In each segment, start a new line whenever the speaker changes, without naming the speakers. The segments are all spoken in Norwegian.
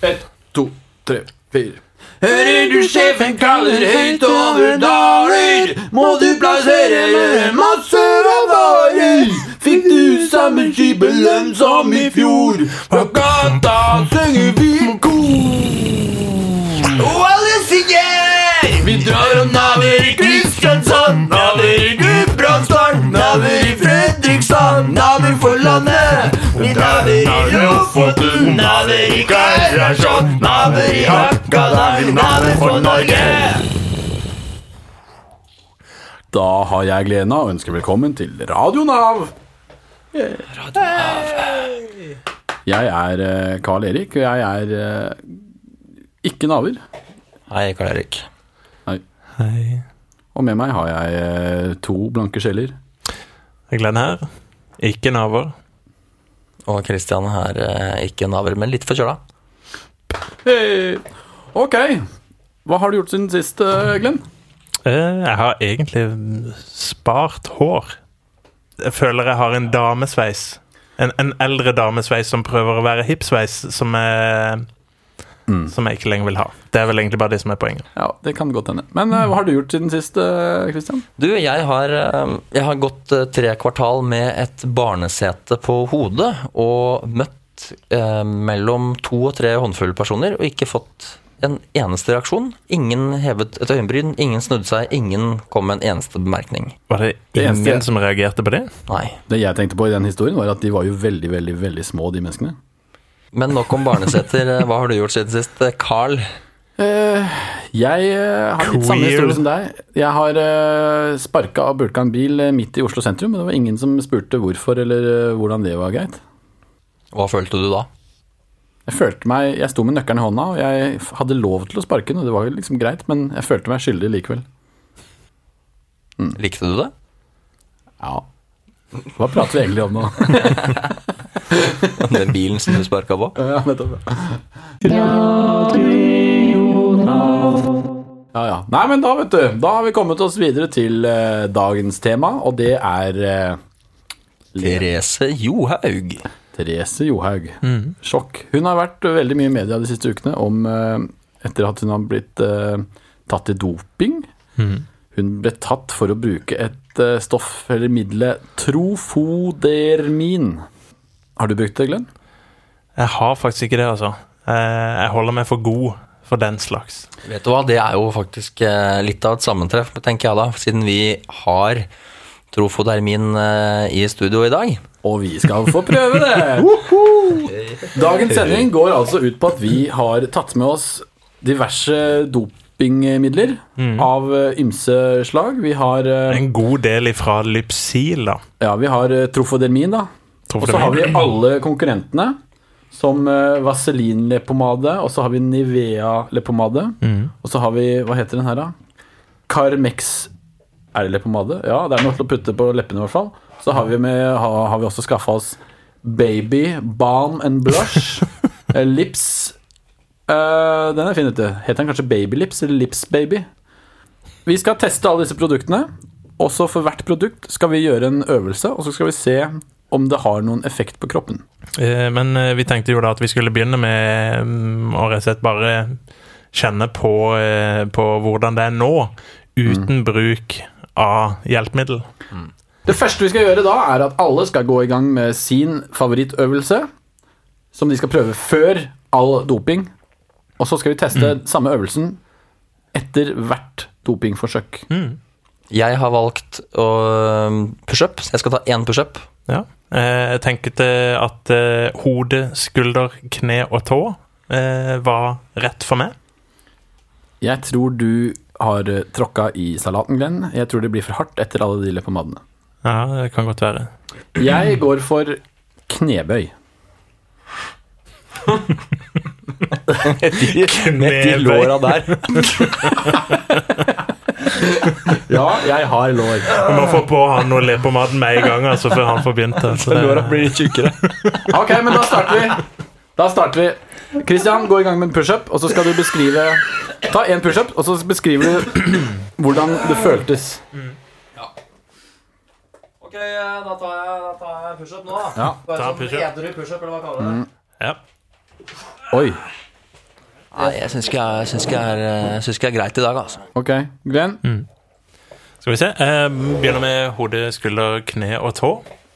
Ett, to, tre, fire. Hører du sjefen kaller høyt over daler, må du plassere masser av varer. Fikk du samme type lønn som i fjor? På gata synger vi kor. Og alle synger! Vi drar og naver i Kristiansand, naver i Gudbrandsdalen, naver i Fredrikstad, naver for landet. Vi naver i Lofoten, naver i Karasjok, naver i Hakadal, naver for Norge.
Da har jeg gleden av å ønske velkommen til Radio Nav. Jeg er eh, Carl Erik, og jeg er eh, ikke naver.
Hei, Karl Erik.
Nei.
Hei.
Og med meg har jeg eh, to blanke sjeler.
Det er Glenn her. Ikke naver.
Og Kristian her, eh, ikke naver, men litt forkjøla.
Hei. Ok. Hva har du gjort siden sist, eh, Glenn?
Eh, Jeg har egentlig spart hår. Jeg føler jeg har en damesveis. En, en eldre damesveis som prøver å være hipsveis, som jeg,
Mm.
som jeg ikke lenger vil ha. Det er vel egentlig bare det som er poenget.
Ja, det kan godt hende. Men eh, hva har du gjort siden sist, eh, Christian?
Du, jeg har, eh, jeg har gått eh, tre kvartal med et barnesete på hodet og møtt eh, mellom to og tre håndfulle personer og ikke fått en eneste reaksjon. Ingen hevet et øyenbryn, ingen snudde seg, ingen kom med en eneste bemerkning.
Var det
Det eneste-
ingen som reagerte på det?
Nei.
Det jeg tenkte på i den historien, var at de var jo veldig, veldig, veldig små, de menneskene.
Men nok om barneseter. Eh, Hva har du gjort siden sist, eh, Carl?
Eh, jeg eh, har litt samme
Queer.
historie som deg. Jeg har uh, sparka og bulka en bil eh, midt i Oslo sentrum, men det var ingen som spurte hvorfor eller eh, hvordan det var greit.
Hva følte du da?
Jeg følte meg, jeg sto med nøkkelen i hånda, og jeg f- hadde lov til å sparke den, og det var jo liksom greit, men jeg følte meg skyldig likevel.
Likte du det?
Ja. Hva prater vi egentlig om nå?
Den bilen som du sparka på?
ja, nettopp. Ja, ja. Nei, men da, vet du, da har vi kommet oss videre til eh, dagens tema, og det er eh,
Therese Johaug.
Therese Johaug. Sjokk. Hun har vært eh, veldig mye i media de siste ukene om eh, etter at hun har blitt eh, tatt i doping. Hun ble tatt for å bruke et eh, stoff eller middelet trofodermin. Har du brukt det, Glenn?
Jeg har faktisk ikke det, altså. Eh, Jeg holder meg for god for den slags.
Vet du hva, det er jo faktisk eh, litt av et sammentreff, tenker jeg da, siden vi har trofodermin eh, i studio i dag.
Og vi skal få prøve det! Woho! Dagens sending går altså ut på at vi har tatt med oss diverse dopingmidler av eh, ymse slag. Vi har, eh,
En god del ifra lypsil, da.
ja, vi har eh, trofodermin, da.
Tror
Og så
det
har
blir-
vi alle konkurrentene, som eh, Vaseline-leppepomade, og så har vi Nivea-leppepomade. Og så har vi Hva heter den her, da? Carmex Er det leppepomade? Ja, det er noe til å putte på leppene, i hvert fall. Så har vi, med, har, har vi også skaffa oss Baby Balm and Blush. eh, lips Eh, Den er fin, vet du. Heter den kanskje Baby Lips eller Lips Baby? Vi skal teste alle disse produktene. Og så for hvert produkt skal vi gjøre en øvelse, og så skal vi se om det har noen effekt på kroppen.
Eh, Men eh, vi tenkte jo da at vi skulle begynne med mm, å rett og slett bare kjenne på, eh, på hvordan det er nå, uten bruk av hjelpemiddel.
Det første vi skal gjøre da, er at alle skal gå i gang med sin favorittøvelse, som de skal prøve før all doping. Og så skal vi teste samme øvelsen etter hvert dopingforsøk.
Jeg har valgt å eh, pushup, så jeg skal ta én pushup.
Ja. Eh, Jeg tenkte at eh, hode, skulder, kne og tå eh, var rett for meg.
Jeg tror du har eh, tråkka i salaten, Glenn. Jeg tror det blir for hardt etter alle de leppepomadene.
Ja, det kan godt være.
Jeg går for knebøy.
Med de låra der.
Ja, jeg har lår.
Vi må få på han noe leppepomade med en gang, altså, før han får begynt. Altså, det,
blir litt tjukkere.
Ok, men da starter vi. Da starter vi. Kristian, gå i gang med en pushup, og så skal du beskrive Ta én pushup, og så beskriver du hvordan det føltes.
Ok, da tar jeg, da tar jeg pushup nå, da.
Ja.
Bare
Ta sånn pushup.
edru pushup, eller hva kaller du det?
ja.
Oi.
Nei, jeg syns ikke jeg, syns ikke jeg, er, eh, jeg syns ikke jeg er greit i dag, altså.
Ok, Glenn.
Mm. Skal vi se. Eh, begynner med hode, skulder, kne og tå.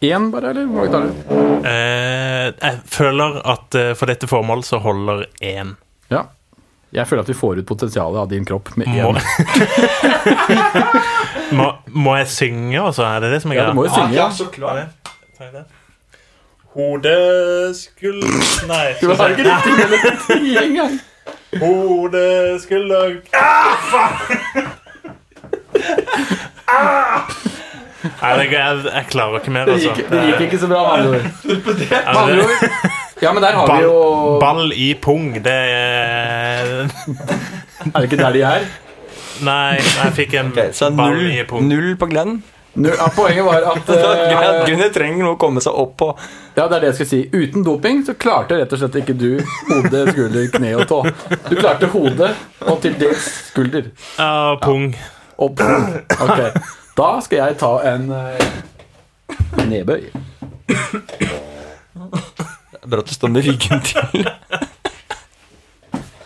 Én bare, eller? Hvor mange tar du?
Eh, jeg føler at eh, for dette formålet så holder én.
Ja. Jeg føler at vi får ut potensialet av din kropp med
Må,
én.
må, må jeg synge, altså? Er det det som er
Ja, du må
greia?
jo synge.
Ja,
Ja,
så
Ja,
klart.
det. Tar jeg det? Hode, skulder Nei.
Du har ikke riktig melodi engang.
Hode, skulder Ah, faen! Ah! Nei, det, jeg, jeg klarer ikke mer,
Det
altså.
gikk, det gikk ikke så bra, med andre ord.
Ja,
Med andre
det-
ord. Ja, men der har vi
Ball,
jo
ball i pung, det er
Er det ikke der de er?
Nei, jeg fikk en
Så
ball
null,
i pung.
null på Glenn.
Nå, ja, poenget var at eh,
Gunnar trenger noe å komme seg opp på.
Ja, det er det jeg skal si. Uten doping så klarte rett og slett ikke du hode, skulder, kne og tå. Du klarte hode og til dels skulder.
Ja, pung.
Og pung. Ok. Da skal jeg ta en eh, nedbøy.
Bra at du står med ryggen til.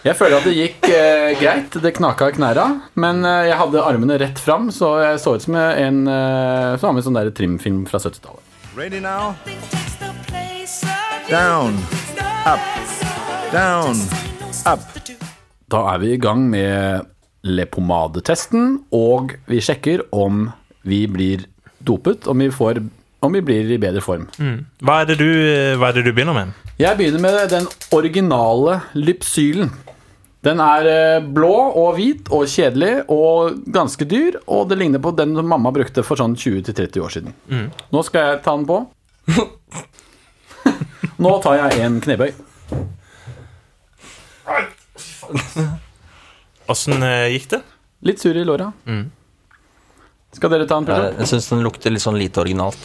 Jeg føler at det gikk eh, greit. Det knaka i knæra. Men eh, jeg hadde armene rett fram, så jeg så ut som en eh, som var med i sånn der trimfilm fra 70-tallet.
Ready now? Down.
Up.
Down. Up.
Da er vi i gang med lepomadetesten, og vi sjekker om vi blir dopet, om vi, får, om vi blir i bedre form.
Hva er, det du, hva er det du begynner med?
Jeg begynner med den originale lypsylen. Den er eh, blå og hvit og kjedelig og ganske dyr, og det ligner på den som mamma brukte for sånn 20-30 år siden. Nå skal jeg ta den på. Nå tar jeg en knebøy.
Åssen eh, gikk det?
Litt sur i låra. Skal dere ta en prøve?
Eh, Jeg syns den lukter litt sånn lite originalt.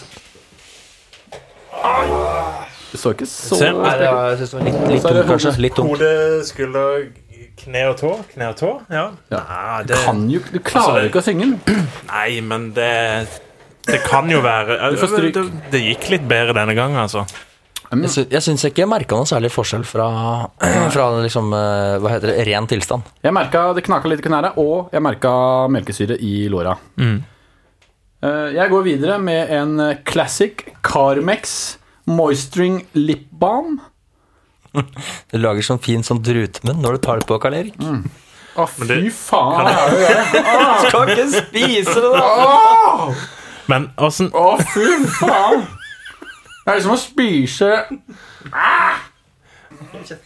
Det så ikke så
Se.
Nei, det var, jeg synes det var litt, litt
Så er det
tungt, kanskje. Litt tungt.
Hode, skulder, kne og tå. Kne og tå, ja. Nei,
Ah,
det,
kan jo, Du klarer
Altså, det-
ikke å synge den.
nei men det Det kan jo være
Du får stryk.
Det, det gikk litt bedre denne gangen, altså.
Jeg sy- Jeg syns ikke jeg merka noen særlig forskjell fra, fra liksom, eh, hva heter det, ren tilstand.
Jeg merka det knaka litt i knærne, og jeg merka melkesyre i låra. Eh, Jeg går videre med en eh, classic Carmex Moisturing Lip Balm.
Du lager sånn fin sånn drutmunn når du tar det på, Karl Erik.
Å, fy
det-
faen! Å,
Skal ikke spise det, da!
Men åssen
fy faen! Det er som å spise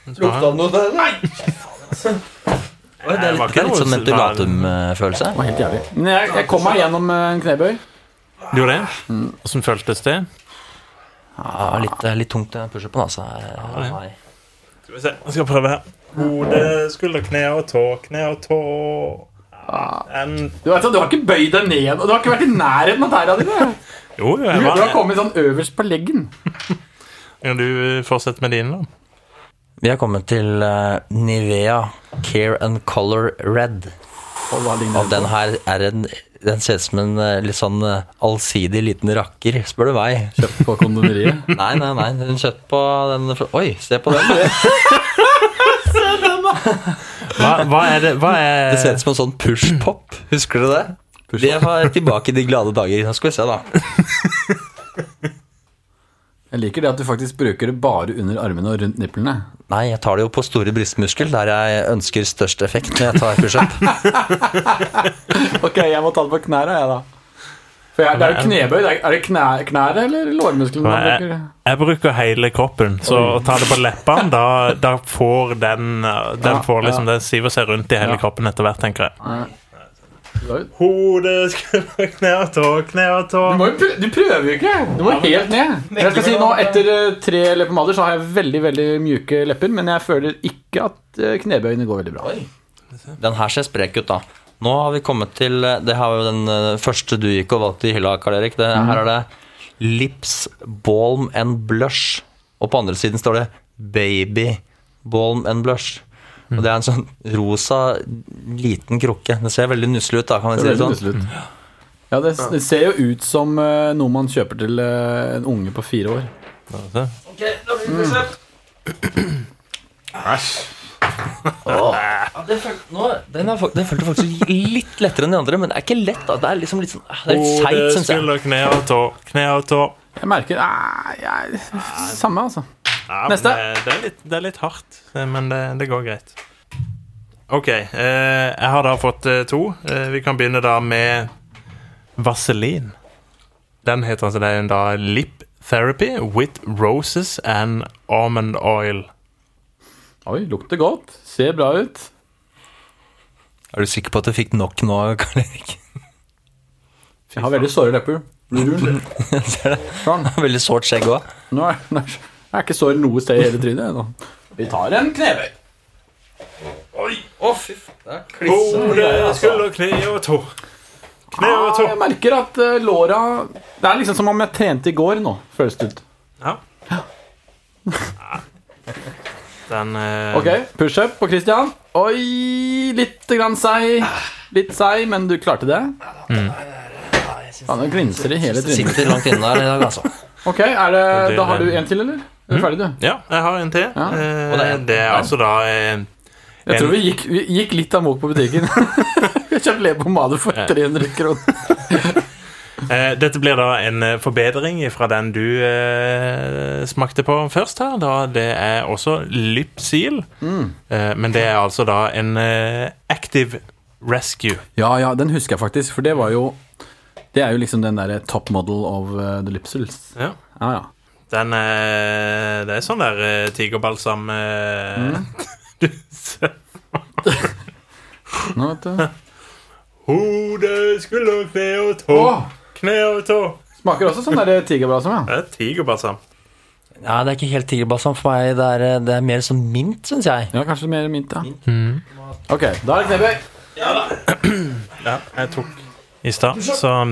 Lukta det noe der? Nei!
Det er litt, det er litt sånn mentulatum-følelse.
Helt jævlig. Men jeg, jeg kom meg gjennom eh, en knebøy.
Du gjorde det? Åssen føltes det?
Ja, litt, det er litt tungt eh, pushupen, altså. Eh, nei.
Skal vi se, jeg skal prøve her. Hode, skulder, kne og tå, kne og tå.
Ah.
En,
Du, vet, at du har ikke bøyd deg ned, og du har ikke vært i nærheten av tæra dine.
jo, jo,
Du,
jeg
du har
var
kommet sånn øverst på leggen.
Kan du fortsette med dine, da?
Vi har kommet til eh, Nivea Care and Color Red.
Og hva ligner
Og den her er en Den ser ut som en eh, litt sånn eh, allsidig liten rakker, spør du meg.
Kjøpt på kondomeriet.
Nei, nei, nei. Hun kjøpt på den Oi, se på den!
Hva, hva er det hva er,
Det ser ut som en sånn pushpop. Husker du det? Det var tilbake i de glade dager. Nå skal vi se, da.
Jeg liker det at du faktisk bruker det bare under armene og rundt nipplene.
Nei, jeg tar det jo på store brystmuskel, der jeg ønsker størst effekt når jeg tar pushup.
Ok, jeg må ta det på knæra, jeg, da. For jeg, det er jo knebøy. Det er, er det knæ, knæret eller lårmusklene man
jeg,
bruker?
jeg bruker hele kroppen, så å ta det på leppene, da, da får den uh, Den
Ja,
får liksom
ja.
Den siver seg rundt i hele
Ja.
kroppen etter hvert, tenker jeg.
Du har jo-
Hode, skulder, kne og tå, kne og tå.
Du, må jo prø- du prøver jo ikke! Du må helt ned. Jeg skal si nå, Etter eh, tre leppepomader så har jeg veldig veldig mjuke lepper, men jeg føler ikke at eh, knebøyene går veldig bra.
Den her ser sprek ut, da. Nå har vi kommet til eh, Det her var jo den eh, første du gikk og valgte i hylla, Karl Erik. Det, Her er det Lips Balm and Blush. Og på andre siden står det Baby Balm and Blush. Og det er en sånn rosa liten krukke. Det ser veldig nusselig ut, da. kan vi
Det er
si det
veldig
sånn.
nusselig ut. Ja, det, s- det ser jo ut som eh, noe man kjøper til eh, en unge på fire år.
Skal vi se.
Æsj.
Ja, det føl- nå, den, er, fak- den følte faktisk litt lettere enn de andre, men det er ikke lett. Da. Det er liksom litt sånn ah, Det er litt seigt,
Hode,
syns jeg.
skulder, kne og tå. Kne og tå.
Jeg merker ah, jeg, Samme, altså.
Ja, men
Neste.
Det, det, er litt, det er litt hardt, eh, men det, det går greit. OK. Eh, jeg har da fått eh, to. Eh, vi kan begynne da med Vaselin. Den heter altså det er jo da Lip Therapy with Roses and Almond Oil.
Oi, lukter godt. Ser bra ut.
Er du sikker på at du fikk nok nå, Karl Erik?
Jeg har veldig såre lepper. Blir rund. Sånn.
Veldig sårt skjegg òg.
Nå er, nå er jeg er ikke sår noe sted i hele trynet. Nå. Vi tar en knebøy.
Å, fy faen.
Hode, skulder, kne og tå. Kne og
Ah,
tå.
jeg merker at eh, låra Det er liksom som om jeg trente i går nå, føles det ut.
Ja. Den eh,
Ok, Pushup på Christian. Oi, litt grann seig. Litt seig, men du klarte det. Mm. Faen, det glinser i hele trynet.
Sitter langt inne der i dag, altså.
Ok, er det, Mm. Da har du en til, eller? Er du ferdig, du?
Ja, jeg har en til.
Ja.
Eh,
Og
det,
det er
er
en-
altså da eh,
Jeg tror vi gikk, vi gikk litt amok på butikken. Vi kjøpte leverpomade for 300 kroner.
Eh, dette blir da en eh, forbedring fra den du eh, smakte på først her. Da det er også Lypsyl, eh, men det er altså da en eh, Active Rescue.
Ja, ja, den husker jeg faktisk, for det var jo Det er jo liksom den derre top model of eh, the lipsels.
Ja.
Ja, ja.
Den eh, Det er sånn der eh, tigerbalsam eh, du ser.
Nå, vet du.
Hode, skulder, kne og tå.
Åh!
Kne og tå.
Smaker også sånn der tigerbalsam, ja.
Det er tigerbalsam.
Ja, det er ikke helt tigerbalsam for meg. Det er, eh, det er mer sånn mint, syns jeg.
Ja, kanskje mer mynt, ja. Mm. Ok, da er det knebøy.
Ja, jeg tok i stad, så um,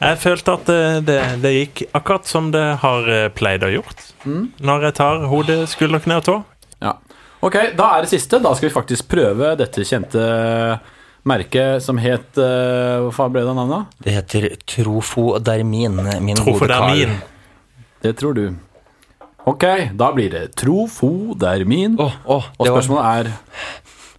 jeg følte at eh, det, det gikk akkurat som det har eh, pleid å gjort. Når jeg tar hode, skulder, kne og tå.
Ja. Ok, da er det siste. Da skal vi faktisk prøve dette kjente merket som het eh, Hva faen ble det av navnet?
Det heter trofodermin, min gode Karl.
Trofodermin.
Det tror du. Ok, da blir det trofodermin.
Åh, åh,
Og
det, var,
spørsmålet er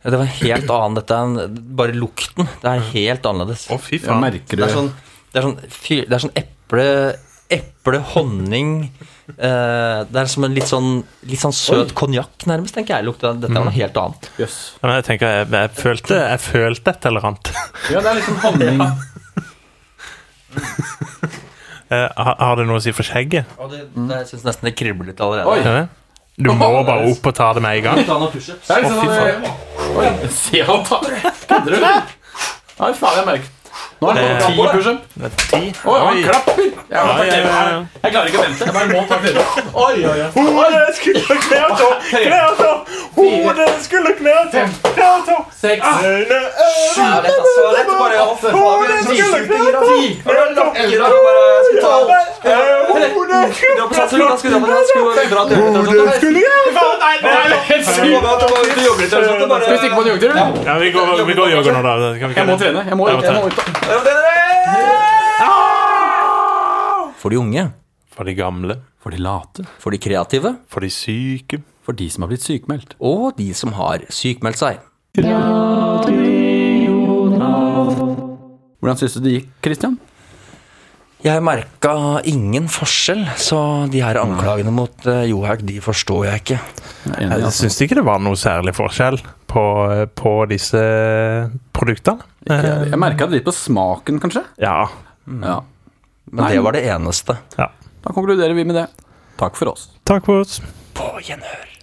det var en helt annen dette enn bare lukten. Det er helt annerledes.
Å, fy
jeg
faen.
merker
Det er
du
sånn, det er sånn, fyr, det er sånn eple, eple, honning eh, Det er som en litt sånn, litt sånn søt konjakk, nærmest, tenker jeg. Lukter, dette er noe helt annet.
Jøss.
Ja, men jeg tenker, jeg, jeg, følte, jeg følte et eller annet.
Ja, det er liksom honning.
Eh, ha- har det noe å si for skjegget?
Og det, det, jeg syns nesten det kribler litt allerede.
Oi!
Er det? Du må bare opp og ta det med en gang.
Ta noen pushups.
Det er liksom sånn Oi, se han tar Kødder du, eller? Nei, faen, jeg merker Nå er det
Det-
ti pushup.
Det er ti.
Oi, han klapper! Jeg,
Ja, ja, ja, ja.
jeg klarer ikke å vente. Jeg bare må ta flere. Oi, oi, oi.
Hode, skulder, kne og tå. Kne og tå. Hode, skulder, kne og tå. Kne og tå. Ah.
Seks.
Øyne, øyne.
Hode, skulder, kne og tå. Tolv.
Skal vi stikke på en joggetur, eller?
Ja, vi går, vi går yoga nå, da. Det Kan vi ikke
Jeg må
det?
trene. Jeg må,
Jeg må
jeg må
trene.
ut.
For de unge,
For de gamle,
For de late.
for de kreative
for de syke.
For de som har blitt sykmeldt.
og de som har sykmeldt seg.
Hvordan syns du det gikk, Christian?
Jeg merka ingen forskjell, så de her anklagene mot eh, Johaug, de forstår jeg ikke.
Enig, altså.
Jeg syns ikke det var noe særlig forskjell på, eh, på disse produktene. Eh,
Jeg merka det litt på smaken, kanskje.
Ja.
Ja.
Men det var det eneste.
ja.
Da konkluderer vi med det. Takk for oss.
Takk for oss.
På gjenhør.